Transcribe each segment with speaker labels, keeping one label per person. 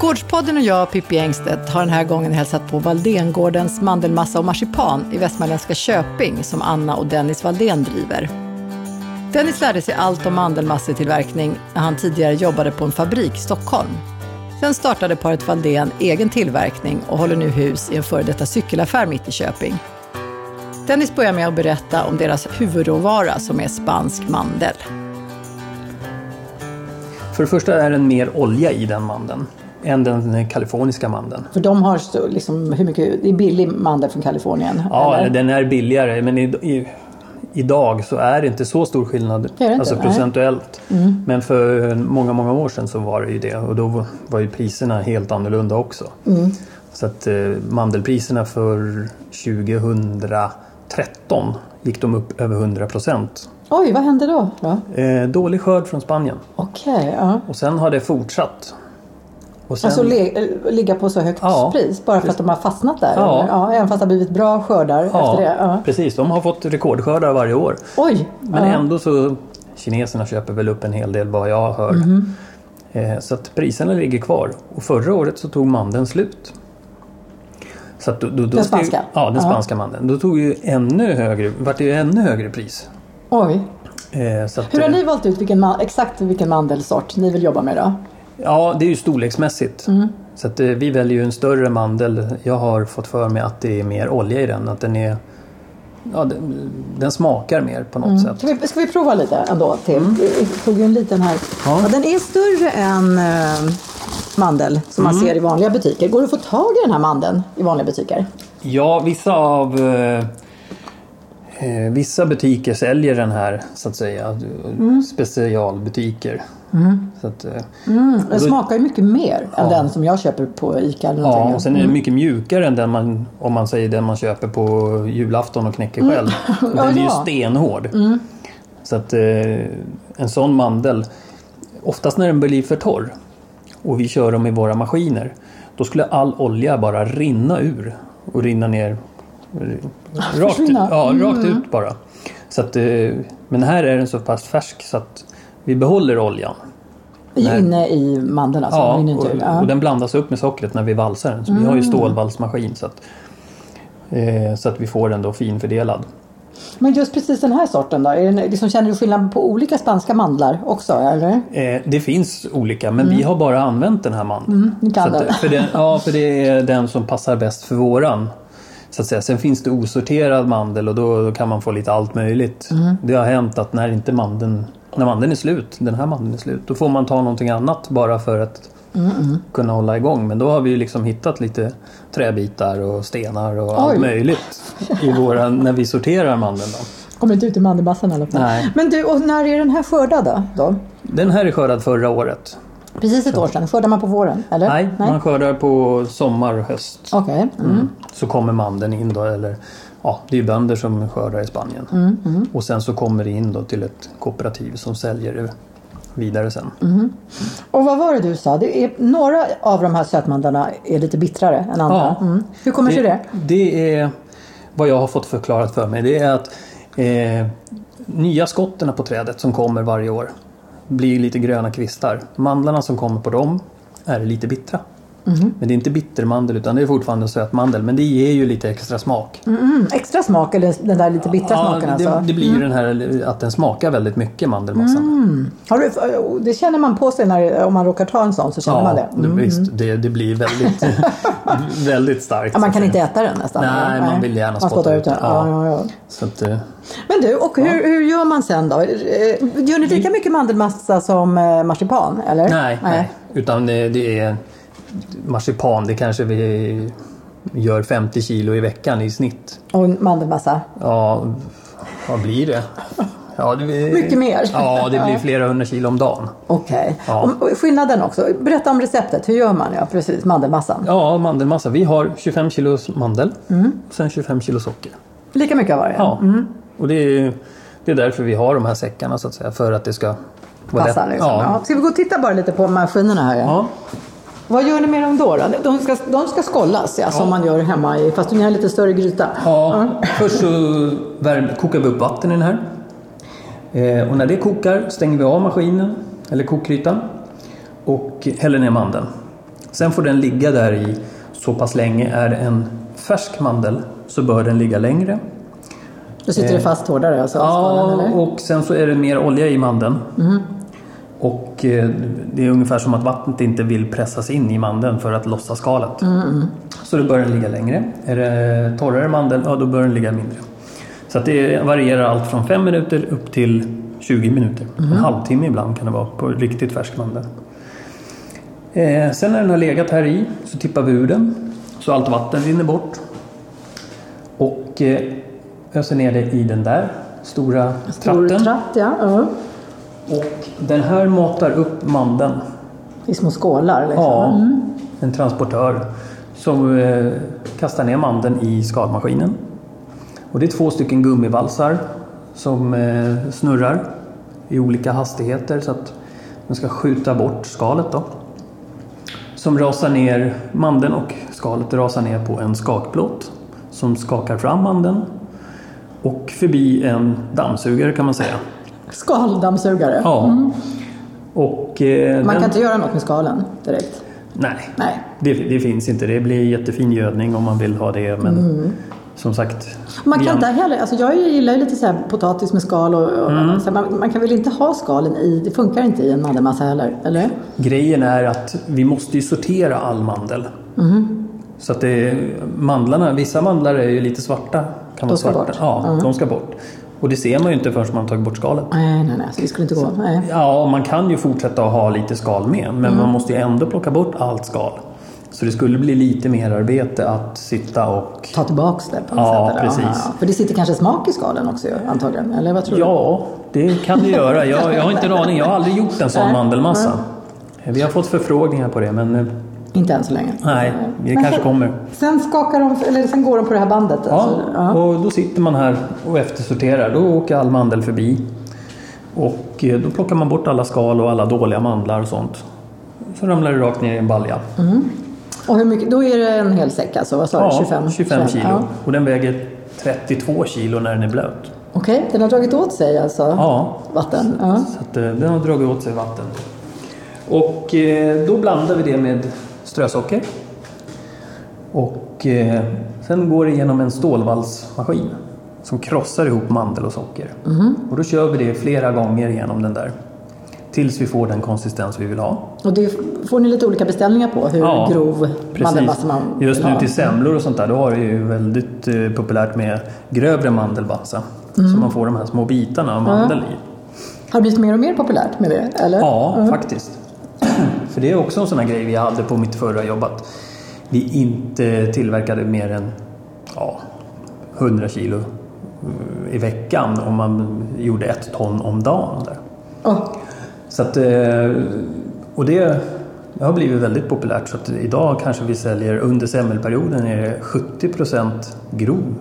Speaker 1: Gårdspodden och jag, Pippi Engstedt, har den här gången hälsat på Valdengårdens mandelmassa och marsipan i västmanländska Köping som Anna och Dennis Valdén driver. Dennis lärde sig allt om mandelmassetillverkning när han tidigare jobbade på en fabrik i Stockholm. Sen startade paret Valdén egen tillverkning och håller nu hus i en före detta cykelaffär mitt i Köping. Dennis börjar med att berätta om deras huvudråvara som är spansk mandel.
Speaker 2: För det första är det mer olja i den mandeln än den kaliforniska mandeln.
Speaker 1: För de har så- liksom, hur mycket, det är billig mandel från Kalifornien?
Speaker 2: Ja,
Speaker 1: eller?
Speaker 2: den är billigare men i, i, idag så är det inte så stor skillnad
Speaker 1: Det är det inte,
Speaker 2: alltså
Speaker 1: nej. Mm.
Speaker 2: procentuellt. Men för många, många år sedan så var det ju det och då var ju priserna helt annorlunda också.
Speaker 1: Mm.
Speaker 2: Så att eh, mandelpriserna för 2013 gick de upp över 100 procent.
Speaker 1: Oj, vad hände då? då?
Speaker 2: Eh, dålig skörd från Spanien
Speaker 1: Okej, ja.
Speaker 2: och sen har det fortsatt. Och sen-
Speaker 1: Alltså le- eh, ligga på så högt
Speaker 2: Ja,
Speaker 1: pris bara för att de har fastnat där?
Speaker 2: Ja.
Speaker 1: eller? ja även fast det har blivit bra skördar
Speaker 2: Ja,
Speaker 1: efter det? Ja.
Speaker 2: precis. De har fått rekordskördar varje år.
Speaker 1: Oj!
Speaker 2: Men
Speaker 1: ja.
Speaker 2: ändå så kineserna köper väl upp en hel del vad jag hör.
Speaker 1: Mhm.
Speaker 2: Eh, Så att priserna ligger kvar. Och förra året så tog mandeln slut. Så att då, då, då
Speaker 1: Den
Speaker 2: steg-
Speaker 1: spanska?
Speaker 2: Ja, den
Speaker 1: Ja.
Speaker 2: spanska mandeln. Då tog ju ännu högre, vart det ju ännu högre pris.
Speaker 1: Oj!
Speaker 2: Eh, Så att,
Speaker 1: Hur har
Speaker 2: eh,
Speaker 1: ni valt ut vilken ma- exakt vilken mandelsort ni vill jobba med då?
Speaker 2: Ja, det är ju storleksmässigt.
Speaker 1: Mhm.
Speaker 2: Så att eh, vi väljer ju en större mandel. Jag har fått för mig att det är mer olja i den. Att den är... Ja, den, den smakar mer på något sätt.
Speaker 1: Ska vi, ska vi prova lite ändå? Till? Vi tog ju en liten här. Ja.
Speaker 2: Mm. Ja.
Speaker 1: den är större än eh, mandel som
Speaker 2: Mm.
Speaker 1: man ser i vanliga butiker. Går det att få tag i den här mandeln i vanliga butiker?
Speaker 2: Ja, vissa av eh, eh, Vissa butiker säljer den här så att säga. Specialbutiker. Så att, eh,
Speaker 1: Den smakar ju mycket mer än den som jag köper på ICA eller
Speaker 2: ja,
Speaker 1: någonting. Mm.
Speaker 2: och sen är den mycket mjukare än den man, om man säger den man köper på julafton och knäcker själv. Den
Speaker 1: Mm. Ja, Mm.
Speaker 2: är ju
Speaker 1: ja.
Speaker 2: stenhård. Så att eh, en sån mandel, oftast när den blir för torr och vi kör dem i våra maskiner, då skulle all olja bara rinna ur och rinna ner eh, rakt, ut-
Speaker 1: Försvinna. Mm.
Speaker 2: ja, rakt ut bara. Så att, eh, men här är den så pass färsk så att vi behåller oljan.
Speaker 1: I- Inne i mandeln alltså.
Speaker 2: Ja,
Speaker 1: den rinner inte ur.
Speaker 2: och, och den blandas upp med sockret när vi valsar den. Så Vi har ju stålvalsmaskin så att, eh, så att vi får den då finfördelad.
Speaker 1: Men just precis den här sorten då? Är den, liksom, känner du skillnad på olika spanska mandlar också? Eller? Mm,
Speaker 2: Eh, det finns olika men vi har bara använt den här mandeln.
Speaker 1: ni kan
Speaker 2: så
Speaker 1: den.
Speaker 2: att, för, den, ja, för det är den som passar bäst för våran. Så att säga. Sen finns det osorterad mandel och då, då kan man få lite allt möjligt. Det har hänt att när, inte mandeln, när mandeln är slut, den här mandeln är slut, då får man ta någonting annat bara för att kunna hålla igång. Men då har vi ju liksom hittat lite träbitar och stenar och
Speaker 1: Oj.
Speaker 2: allt möjligt i våra, när vi sorterar mandeln. Då.
Speaker 1: Kommer inte ut i mandelmassan i alla fall.
Speaker 2: Nej.
Speaker 1: Men du, och när är den här skördad då? då?
Speaker 2: Den här är skördad förra året.
Speaker 1: Precis ett år sedan. Skördar man på våren? Eller?
Speaker 2: Nej, man skördar på sommar och höst.
Speaker 1: Okej. Mm.
Speaker 2: så kommer mandeln in då eller ja, det är ju bönder som skördar i Spanien.
Speaker 1: Mm,
Speaker 2: Och sen så kommer det in då till ett kooperativ som säljer det vidare sen.
Speaker 1: Mm, Och vad var det du sa? Det är, några av de här sötmandlarna är lite bittrare än andra.
Speaker 2: Ja.
Speaker 1: Mm. Hur kommer sig det?
Speaker 2: det är vad jag har fått förklarat för mig. Det är att eh, nya skotterna på trädet som kommer varje år blir lite gröna kvistar. Mandlarna som kommer på dem är lite bittra.
Speaker 1: Mm-hmm.
Speaker 2: Men det är inte bittermandel utan det är fortfarande sötmandel men det ger ju lite extra smak.
Speaker 1: Mm. Extra smak eller den där lite bittra smaken
Speaker 2: det,
Speaker 1: alltså? Mm.
Speaker 2: det blir ju den här att den smakar väldigt mycket mandelmassan.
Speaker 1: Har du, det känner man på sig när, om man råkar ta en sån så känner man det. Mm.
Speaker 2: Ja, visst. Det, det blir väldigt, väldigt starkt.
Speaker 1: Ja, man
Speaker 2: så
Speaker 1: kan
Speaker 2: att
Speaker 1: inte
Speaker 2: säga.
Speaker 1: äta den nästan?
Speaker 2: Nej,
Speaker 1: eller?
Speaker 2: man vill gärna
Speaker 1: man spottar ut den. Ja. Ja, ja,
Speaker 2: Så att, eh,
Speaker 1: Men du, och hur, hur gör man sen då? Eh, Gör ni lika mycket mandelmassa som eh, marsipan? Eller?
Speaker 2: Mm. nej, nej. Utan det, det är marsipan, det kanske vi gör 50 kilo i veckan i snitt.
Speaker 1: Och mandelmassa?
Speaker 2: Ja, vad blir det? Ja, det blir,
Speaker 1: Mycket mer.
Speaker 2: Ja, det blir flera hundra kilo om dagen.
Speaker 1: Okej.
Speaker 2: Ja.
Speaker 1: Och- och Skillnaden också. Berätta om receptet. Hur gör man? Ja, precis. Mandelmassan.
Speaker 2: Ja, mandelmassa. Vi har 25 kilo mandel,
Speaker 1: Mm.
Speaker 2: sen 25 kilo socker.
Speaker 1: Lika mycket av varje?
Speaker 2: Ja, och det är, det är därför vi har de här säckarna så att säga. För att det ska vara
Speaker 1: Passar
Speaker 2: lätt.
Speaker 1: liksom. ja. Ska vi gå och titta bara lite på maskinerna här?
Speaker 2: Ja.
Speaker 1: Vad gör ni med dem då? då? De, ska, de ska skållas, ja, som man gör hemma, i, fast ni har en lite större gryta.
Speaker 2: Ja, först så värm- kokar vi upp vatten i den här. Eh, och när det kokar stänger vi av maskinen, eller kokgrytan, och häller ner mandeln. Sen får den ligga där i så pass länge. Är det en färsk mandel så bör den ligga längre.
Speaker 1: Då sitter det fast hårdare alltså?
Speaker 2: Eh. Ja,
Speaker 1: skalan, eller?
Speaker 2: och sen så är det mer olja i mandeln. Och eh, det är ungefär som att vattnet inte vill pressas in i mandeln för att lossa skalet. Så då bör den ligga längre. Är det torrare mandel, ja då bör den ligga mindre. Så att det varierar allt från 5 minuter upp till 20 minuter. En halvtimme ibland kan det vara på riktigt färsk mandel. Eh, sen när den har legat här i så tippar vi ur den så allt vatten rinner bort. Och eh, öser ner det i den där stora
Speaker 1: Stor
Speaker 2: tratten.
Speaker 1: tratt, ja. ja.
Speaker 2: Och den här matar upp mandeln.
Speaker 1: I små skålar liksom.
Speaker 2: Ja, en transportör som eh, kastar ner mandeln i skalmaskinen. Och det är två stycken gummivalsar som eh, snurrar i olika hastigheter så att de ska skjuta bort skalet då. Som rasar ner, mandeln och skalet rasar ner på en skakplåt som skakar fram mandeln och förbi en dammsugare kan man säga.
Speaker 1: Skaldammsugare.
Speaker 2: Ja. Och, eh,
Speaker 1: Man
Speaker 2: den-
Speaker 1: kan inte göra något med skalen direkt.
Speaker 2: Nej,
Speaker 1: Nej.
Speaker 2: det, det finns inte. Det blir jättefin gödning om man vill ha det. Men som sagt.
Speaker 1: Mm. Man kan
Speaker 2: igen,
Speaker 1: inte heller, alltså jag gillar ju lite så här potatis med skal och, och
Speaker 2: Mm.
Speaker 1: så här, man, man kan väl inte ha skalen i, det funkar inte i en mandelmassa heller, eller?
Speaker 2: Grejen är att vi måste ju sortera all mandel.
Speaker 1: Mm.
Speaker 2: Så att det, mandlarna, vissa mandlar är ju lite svarta. Kan vara
Speaker 1: ska
Speaker 2: svarta.
Speaker 1: bort. Mm.
Speaker 2: Ja, de ska bort. Och det ser man ju inte förrän man tagit bort skalet.
Speaker 1: Nej, nej, nej, så det skulle inte gå. Nej.
Speaker 2: Ja, man kan ju fortsätta att ha lite skal med,
Speaker 1: Mm.
Speaker 2: men man måste ju ändå plocka bort allt skal. Så det skulle bli lite mer arbete att sitta och
Speaker 1: Ta tillbaks det på något
Speaker 2: Ja,
Speaker 1: sätt. eller?
Speaker 2: precis.
Speaker 1: För det sitter kanske smak i skalen också ju, antagligen, eller vad tror du?
Speaker 2: Ja, det kan det göra. Jag, jag har inte en aning. Jag har aldrig gjort en sån mandelmassa. Vi har fått förfrågningar på det, men eh,
Speaker 1: Inte än så länge.
Speaker 2: nej, det kanske kommer.
Speaker 1: Sen skakar de, eller sen går de på det här bandet.
Speaker 2: Ja,
Speaker 1: Alltså. Ja.
Speaker 2: och då sitter man här och eftersorterar. Då åker all mandel förbi. Och eh, då plockar man bort alla skal och alla dåliga mandlar och sånt. Så ramlar det rakt ner i en balja.
Speaker 1: Och hur mycket, då är det en hel säck alltså, vad sa du? 25?
Speaker 2: 25 kilo.
Speaker 1: Ja.
Speaker 2: Och den väger 32 kilo när den är blöt.
Speaker 1: Okej, den har dragit åt sig alltså?
Speaker 2: Ja,
Speaker 1: Vatten? Ja.
Speaker 2: Så att, eh, den har dragit åt sig vatten. Och eh, då blandar vi det med strösocker. Och eh, sen går det genom en stålvalsmaskin som krossar ihop mandel och socker. Och då kör vi det flera gånger genom den där. Tills vi får den konsistens vi vill ha.
Speaker 1: Och det får ni lite olika beställningar på hur grov mandelmassa man vill
Speaker 2: Just nu
Speaker 1: ha.
Speaker 2: till semlor och sånt där, då har det ju väldigt eh, populärt med grövre mandelmassa. Så man får de här små bitarna av mandel i.
Speaker 1: Har det blivit mer och mer populärt med det? Eller?
Speaker 2: Ja, faktiskt. För det är också en sån här grej vi hade på mitt förra jobb att vi inte tillverkade mer än ja, 100 kilo eh, i veckan om man gjorde ett ton om dagen. Där.
Speaker 1: Åh,
Speaker 2: Så att, eh, och det, det har blivit väldigt populärt så att idag kanske vi säljer under semmelperioden är det 70 grov.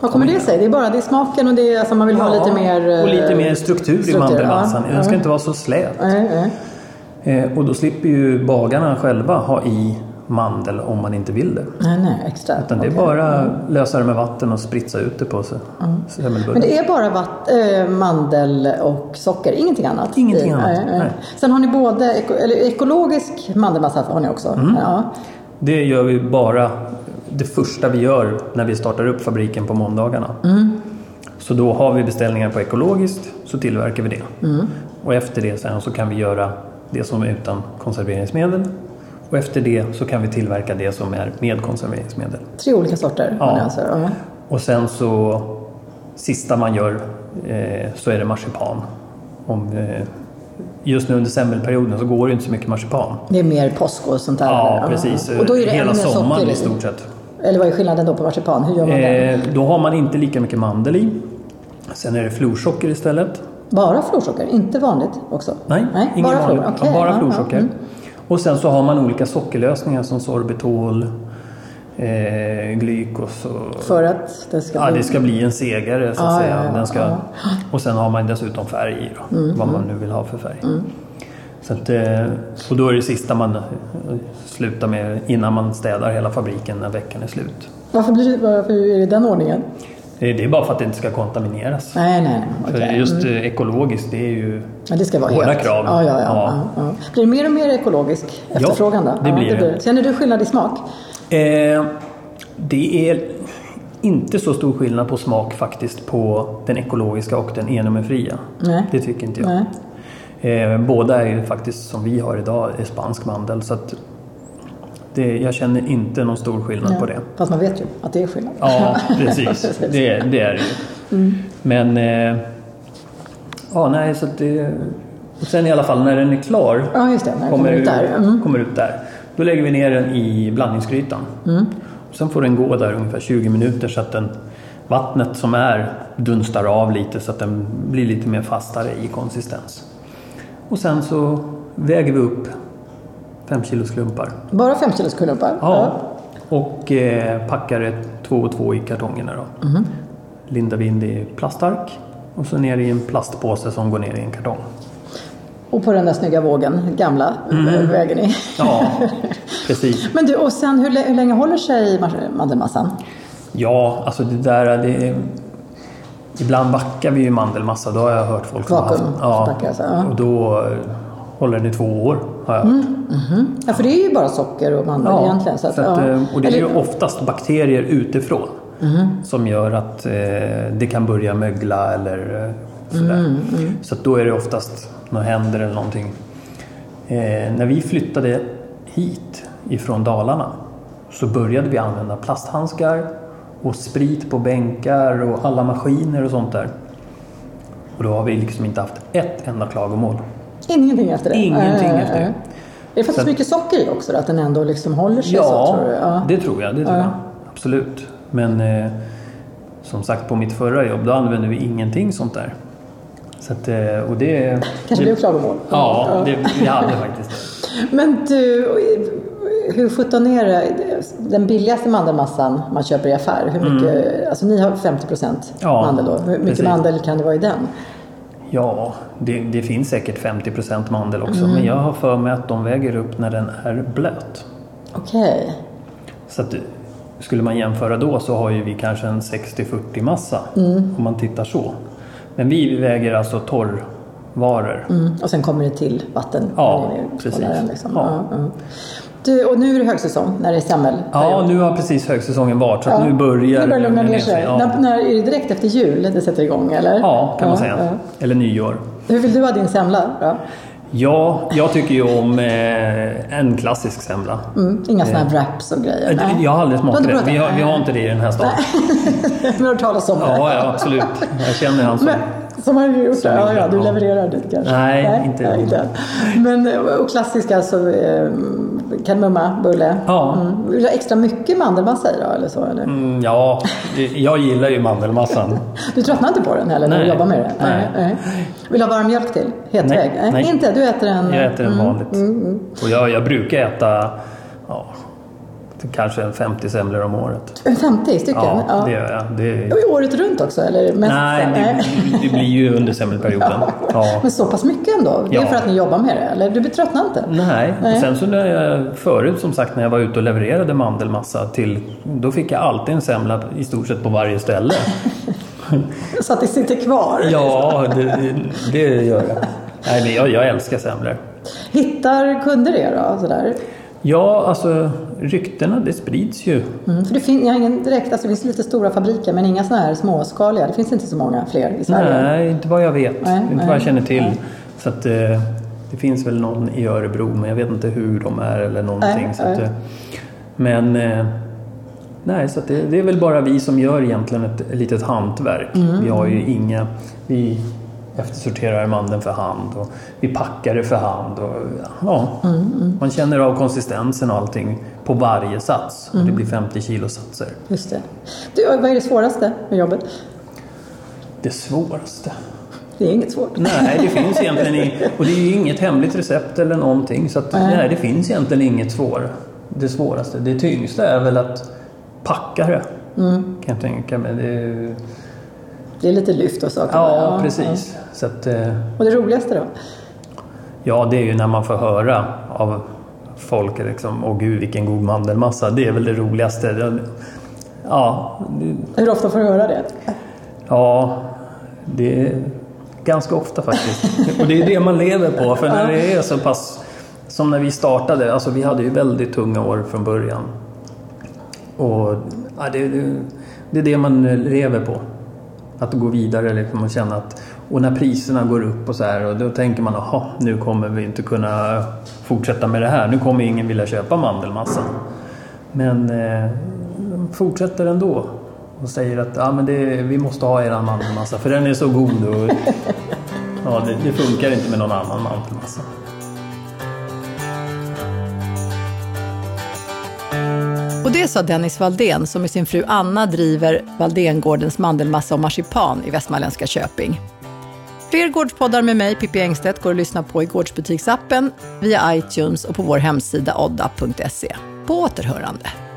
Speaker 1: vad kommer det sig? Det är bara det är smaken och det är alltså man vill ha
Speaker 2: Ja,
Speaker 1: lite mer... eh,
Speaker 2: och lite mer struktur, i
Speaker 1: struktur,
Speaker 2: mandelmassan.
Speaker 1: ja. Mm.
Speaker 2: Den ska inte vara så slät.
Speaker 1: Nej, nej.
Speaker 2: Eh, Och då slipper ju bagarna själva ha i mandel om man inte vill det.
Speaker 1: nej, nej, extra.
Speaker 2: Utan det är bara lösa det med vatten och spritsa ut det på sig.
Speaker 1: Men
Speaker 2: semmelbullen.
Speaker 1: det är bara vatt, eh, mandel och socker, ingenting annat?
Speaker 2: Ingenting
Speaker 1: i-
Speaker 2: annat,
Speaker 1: nej, nej.
Speaker 2: nej.
Speaker 1: Sen har ni både, eko, eller ekologisk mandelmassa har ni också?
Speaker 2: Mm.
Speaker 1: Ja.
Speaker 2: Det gör vi bara det första vi gör när vi startar upp fabriken på måndagarna. Så då har vi beställningar på ekologiskt så tillverkar vi det. Och efter det sen så kan vi göra det som är utan konserveringsmedel. Och efter det så kan vi tillverka det som är med konserveringsmedel.
Speaker 1: Tre olika sorter har
Speaker 2: Ja.
Speaker 1: ni alltså? Ja.
Speaker 2: Och sen så sista man gör eh, så är det marsipan. Om, eh, just nu under semmelperioden så går det inte så mycket marsipan.
Speaker 1: Det är mer påsk och sånt där?
Speaker 2: Ja,
Speaker 1: eller?
Speaker 2: precis.
Speaker 1: Och då är det
Speaker 2: Hela
Speaker 1: ännu mer
Speaker 2: sommaren
Speaker 1: socker
Speaker 2: i stort sett.
Speaker 1: Eller vad är skillnaden då på marsipan? Hur gör man det?
Speaker 2: Eh, då har man inte lika mycket mandel i. Sen är det florsocker istället.
Speaker 1: Bara florsocker? Inte vanligt också?
Speaker 2: Nej, ingen
Speaker 1: bara
Speaker 2: vanlig.
Speaker 1: flor.
Speaker 2: Ja,
Speaker 1: Okej,
Speaker 2: bara
Speaker 1: ja, Mm.
Speaker 2: florsocker. Och sen så har man olika sockerlösningar som sorbitol, eh, glykos och
Speaker 1: ja. För att det ska
Speaker 2: Ja,
Speaker 1: bli...
Speaker 2: det ska bli en segare så att
Speaker 1: Ja,
Speaker 2: säga.
Speaker 1: ja, ja,
Speaker 2: Den ska,
Speaker 1: ja. Mm.
Speaker 2: Och sen har man dessutom färg i då, vad man nu vill ha för färg. Så att, eh, och då är det sista man eh, slutar med innan man städar hela fabriken när veckan är slut.
Speaker 1: Varför, blir det, varför är det den ordningen?
Speaker 2: Det är det är bara för att det inte ska kontamineras.
Speaker 1: Nej, nej, nej.
Speaker 2: För
Speaker 1: okej. Mm.
Speaker 2: Just eh, ekologiskt, det är ju...
Speaker 1: Men det ska vara
Speaker 2: Hårda
Speaker 1: helt.
Speaker 2: krav.
Speaker 1: Ja, ja, ja, ja.
Speaker 2: Ja.
Speaker 1: ja. Blir det mer och mer ekologisk efterfrågan då?
Speaker 2: det blir det.
Speaker 1: Känner du skillnad i smak?
Speaker 2: Eh, det är inte så stor skillnad på smak faktiskt på den ekologiska och den enummerfria.
Speaker 1: Nej.
Speaker 2: Det tycker inte jag.
Speaker 1: Nej.
Speaker 2: Eh, båda är ju faktiskt som vi har idag, är spansk mandel. Så att det, jag känner inte någon stor skillnad på det.
Speaker 1: Fast man vet ju att det är skillnad.
Speaker 2: Ja, precis. Det, det är det ju.
Speaker 1: Mm.
Speaker 2: Men... Eh, ja, nej, så att det... Och sen i alla fall när den är klar
Speaker 1: Ja, just det. När det kommer ut där. Mm.
Speaker 2: kommer ut där. Då lägger vi ner den i blandningsgrytan.
Speaker 1: Mm.
Speaker 2: Sen får den gå där ungefär 20 minuter så att den, vattnet som är dunstar av lite så att den blir lite mer fastare i konsistens. Och sen så väger vi upp 5 kilos klumpar.
Speaker 1: Bara 5 kilos kullumpar?
Speaker 2: Ja. Och eh, packar det två och två i kartongerna då.
Speaker 1: Mm-hmm.
Speaker 2: Lindar vi in det i plastark och så ner i en plastpåse som går ner i en kartong.
Speaker 1: Och på den där snygga vågen, gamla eh,
Speaker 2: Mm.
Speaker 1: vägen i.
Speaker 2: Ja, precis.
Speaker 1: Men du, och sen hur, lä- hur länge håller sig mas- mandelmassan?
Speaker 2: Ja, alltså det där... Det är... Ibland backar vi ju mandelmassa, då har jag hört folk
Speaker 1: Vakuumbackar, alltså, ja. Mm.
Speaker 2: Och då eh, håller den i två år, har jag hört.
Speaker 1: Ja, för det är ju bara socker och mandel egentligen. Så att,
Speaker 2: Mm. så att,
Speaker 1: ja.
Speaker 2: eh, Och det är
Speaker 1: Eller- Mm.
Speaker 2: ju oftast bakterier utifrån som gör att eh, det kan börja mögla eller eh, sådär.
Speaker 1: Mm,
Speaker 2: Så att då är det oftast något händer eller någonting. Eh, när vi flyttade hit ifrån Dalarna så började vi använda plasthandskar och sprit på bänkar och alla maskiner och sånt där. Och då har vi liksom inte haft ett enda klagomål.
Speaker 1: Ingenting efter det?
Speaker 2: Ingenting
Speaker 1: Ja, ja, ja,
Speaker 2: efter det.
Speaker 1: ja. Det är faktiskt
Speaker 2: Så att-
Speaker 1: mycket socker i också, då, att den ändå liksom håller sig
Speaker 2: Ja,
Speaker 1: så tror du? Ja.
Speaker 2: det tror jag. Det tror
Speaker 1: Ja.
Speaker 2: jag. Absolut. Men eh, som sagt, på mitt förra jobb då använde vi ingenting sånt där. Så att, eh, och det...
Speaker 1: Kanske blev klagomål.
Speaker 2: Ja, det, vi hade faktiskt det.
Speaker 1: Men du, hur sjutton är det? Den billigaste mandelmassan man köper i affär, hur mycket, alltså ni har 50 procent
Speaker 2: Mm. Ja,
Speaker 1: mandel då. Hur mycket
Speaker 2: precis.
Speaker 1: mandel kan det vara i den?
Speaker 2: Ja, det, det finns säkert 50 mandel också.
Speaker 1: Mm.
Speaker 2: Men jag har för mig att de väger upp när den är blöt.
Speaker 1: Okej.
Speaker 2: Så att, skulle man jämföra då så har ju vi kanske en 60-40 massa.
Speaker 1: Mm.
Speaker 2: Om man tittar så. Men vi väger alltså torrvaror.
Speaker 1: Mm. Och sen kommer det till vatten.
Speaker 2: Ja,
Speaker 1: när ni
Speaker 2: precis.
Speaker 1: skålar Den liksom. ja.
Speaker 2: Ja.
Speaker 1: ja. Du, och nu är det högsäsong när det är semmel.
Speaker 2: Ja, nu har precis högsäsongen varit så att
Speaker 1: Ja.
Speaker 2: nu börjar
Speaker 1: Nu börjar det lugna
Speaker 2: lugna
Speaker 1: ner sig.
Speaker 2: Ja,
Speaker 1: När, när, är det direkt efter jul det sätter igång eller?
Speaker 2: ja kan man
Speaker 1: Ja,
Speaker 2: säga.
Speaker 1: ja.
Speaker 2: Eller nyår.
Speaker 1: Hur vill du ha din semla då?
Speaker 2: Ja, jag tycker ju om eh, en klassisk semla.
Speaker 1: Mm. Inga sådana här wraps och grejer?
Speaker 2: Eh,
Speaker 1: nej.
Speaker 2: Jag har aldrig
Speaker 1: Du
Speaker 2: smakat
Speaker 1: har
Speaker 2: det.
Speaker 1: inte
Speaker 2: Vi har, vi har inte det i den här staden.
Speaker 1: Men du har hört talas om det?
Speaker 2: Ja, ja, absolut. Jag känner han som...
Speaker 1: Men, som har du gjort det? Ja, ja, du
Speaker 2: ja.
Speaker 1: levererar dit kanske?
Speaker 2: Nej, inte
Speaker 1: nej,
Speaker 2: än.
Speaker 1: inte än. Men eh, och klassiska alltså eh, kardemumma, bulle.
Speaker 2: Ja.
Speaker 1: Mm. Vill du ha extra mycket mandelmassa i då eller så? Eller?
Speaker 2: Mm, ja, det- jag gillar ju mandelmassan.
Speaker 1: Du tröttnar inte på den heller när du
Speaker 2: Nej.
Speaker 1: jobbar med det?
Speaker 2: Nej.
Speaker 1: Vill du ha varm mjölk till? Hetvägg?
Speaker 2: Nej, nej.
Speaker 1: Inte? Du äter en... mm.
Speaker 2: Jag äter den vanligt. Och jag, jag brukar äta ja, kanske en 50 semlor om året.
Speaker 1: En 50 stycken?
Speaker 2: Ja,
Speaker 1: Ja.
Speaker 2: det gör jag. Det,
Speaker 1: Och Året runt också? Eller mest
Speaker 2: nej,
Speaker 1: så-
Speaker 2: det, det blir ju under semmelperioden. Ja.
Speaker 1: Men så pass mycket ändå? Det är
Speaker 2: Ja. Mm.
Speaker 1: för att ni jobbar med det? Eller du tröttnar inte?
Speaker 2: Nej,
Speaker 1: Nej.
Speaker 2: och sen så när jag, förut som sagt när jag var ute och levererade mandelmassa till, då fick jag alltid en semla i stort sett på varje ställe.
Speaker 1: Så att det sitter kvar?
Speaker 2: ja, det, det gör jag. Nej, men jag, jag älskar semlor.
Speaker 1: Hittar kunder det då? Sådär?
Speaker 2: Ja, alltså ryktena det sprids ju.
Speaker 1: Mm, för det, fin- jag har ingen direkt, alltså det finns lite stora fabriker men inga sådana här småskaliga. Det finns inte så många fler i Sverige.
Speaker 2: Nej, inte vad jag vet.
Speaker 1: Nej,
Speaker 2: inte
Speaker 1: nej,
Speaker 2: vad jag känner till. Så att eh, det finns väl någon i Örebro, men jag vet inte hur de är eller någonting.
Speaker 1: Nej,
Speaker 2: så att,
Speaker 1: nej.
Speaker 2: eh, men eh, nej, så att det, det är väl bara vi som gör egentligen ett litet hantverk.
Speaker 1: Mm.
Speaker 2: Vi har ju inga... Vi eftersorterar mandeln för hand och vi packar det för hand. Och, ja,
Speaker 1: Mm,
Speaker 2: Man känner av konsistensen och allting på varje sats.
Speaker 1: Mm.
Speaker 2: Och det blir 50 kilo satser.
Speaker 1: Just det. Du, vad är det svåraste med jobbet?
Speaker 2: Det svåraste.
Speaker 1: Det är inget svårt.
Speaker 2: Nej, det finns egentligen inget. Och det är ju inget hemligt recept eller någonting. Så att, nej. det finns egentligen inget svår. Det svåraste. Det tyngsta är väl att packa det. Kan jag tänka mig. Det är, ju-
Speaker 1: Det är lite lyft och saker.
Speaker 2: ja, precis. Så att, eh,
Speaker 1: Och det roligaste då?
Speaker 2: ja, det är ju när man får höra av folk liksom, åh gud vilken god mandelmassa. Det är väl det roligaste. Det- Ja, det,
Speaker 1: Hur ofta får du höra det?
Speaker 2: ja, det är ganska ofta faktiskt. Och det är det man lever på. För när det är så pass... Som när vi startade, alltså vi hade ju väldigt tunga år från början. Och ja, det, det, det är det man lever på. Att gå vidare liksom och känna att... Och när priserna går upp och så här, och då tänker man jaha, nu kommer vi inte kunna fortsätta med det här. Nu kommer ingen vilja köpa mandelmassa. Men eh, de fortsätter ändå och säger att ah, men det, vi måste ha er mandelmassa för den är så god. Och, ja, det, det funkar inte med någon annan mandelmassa.
Speaker 3: Och det sa Dennis Valdén som med sin fru Anna driver Valdengårdens mandelmassa och marsipan i västmanländska Köping. Fler gårdspoddar med mig, Pippi Engstedt, går att lyssna på i gårdsbutiksappen, via iTunes och på vår hemsida odda.se. På återhörande!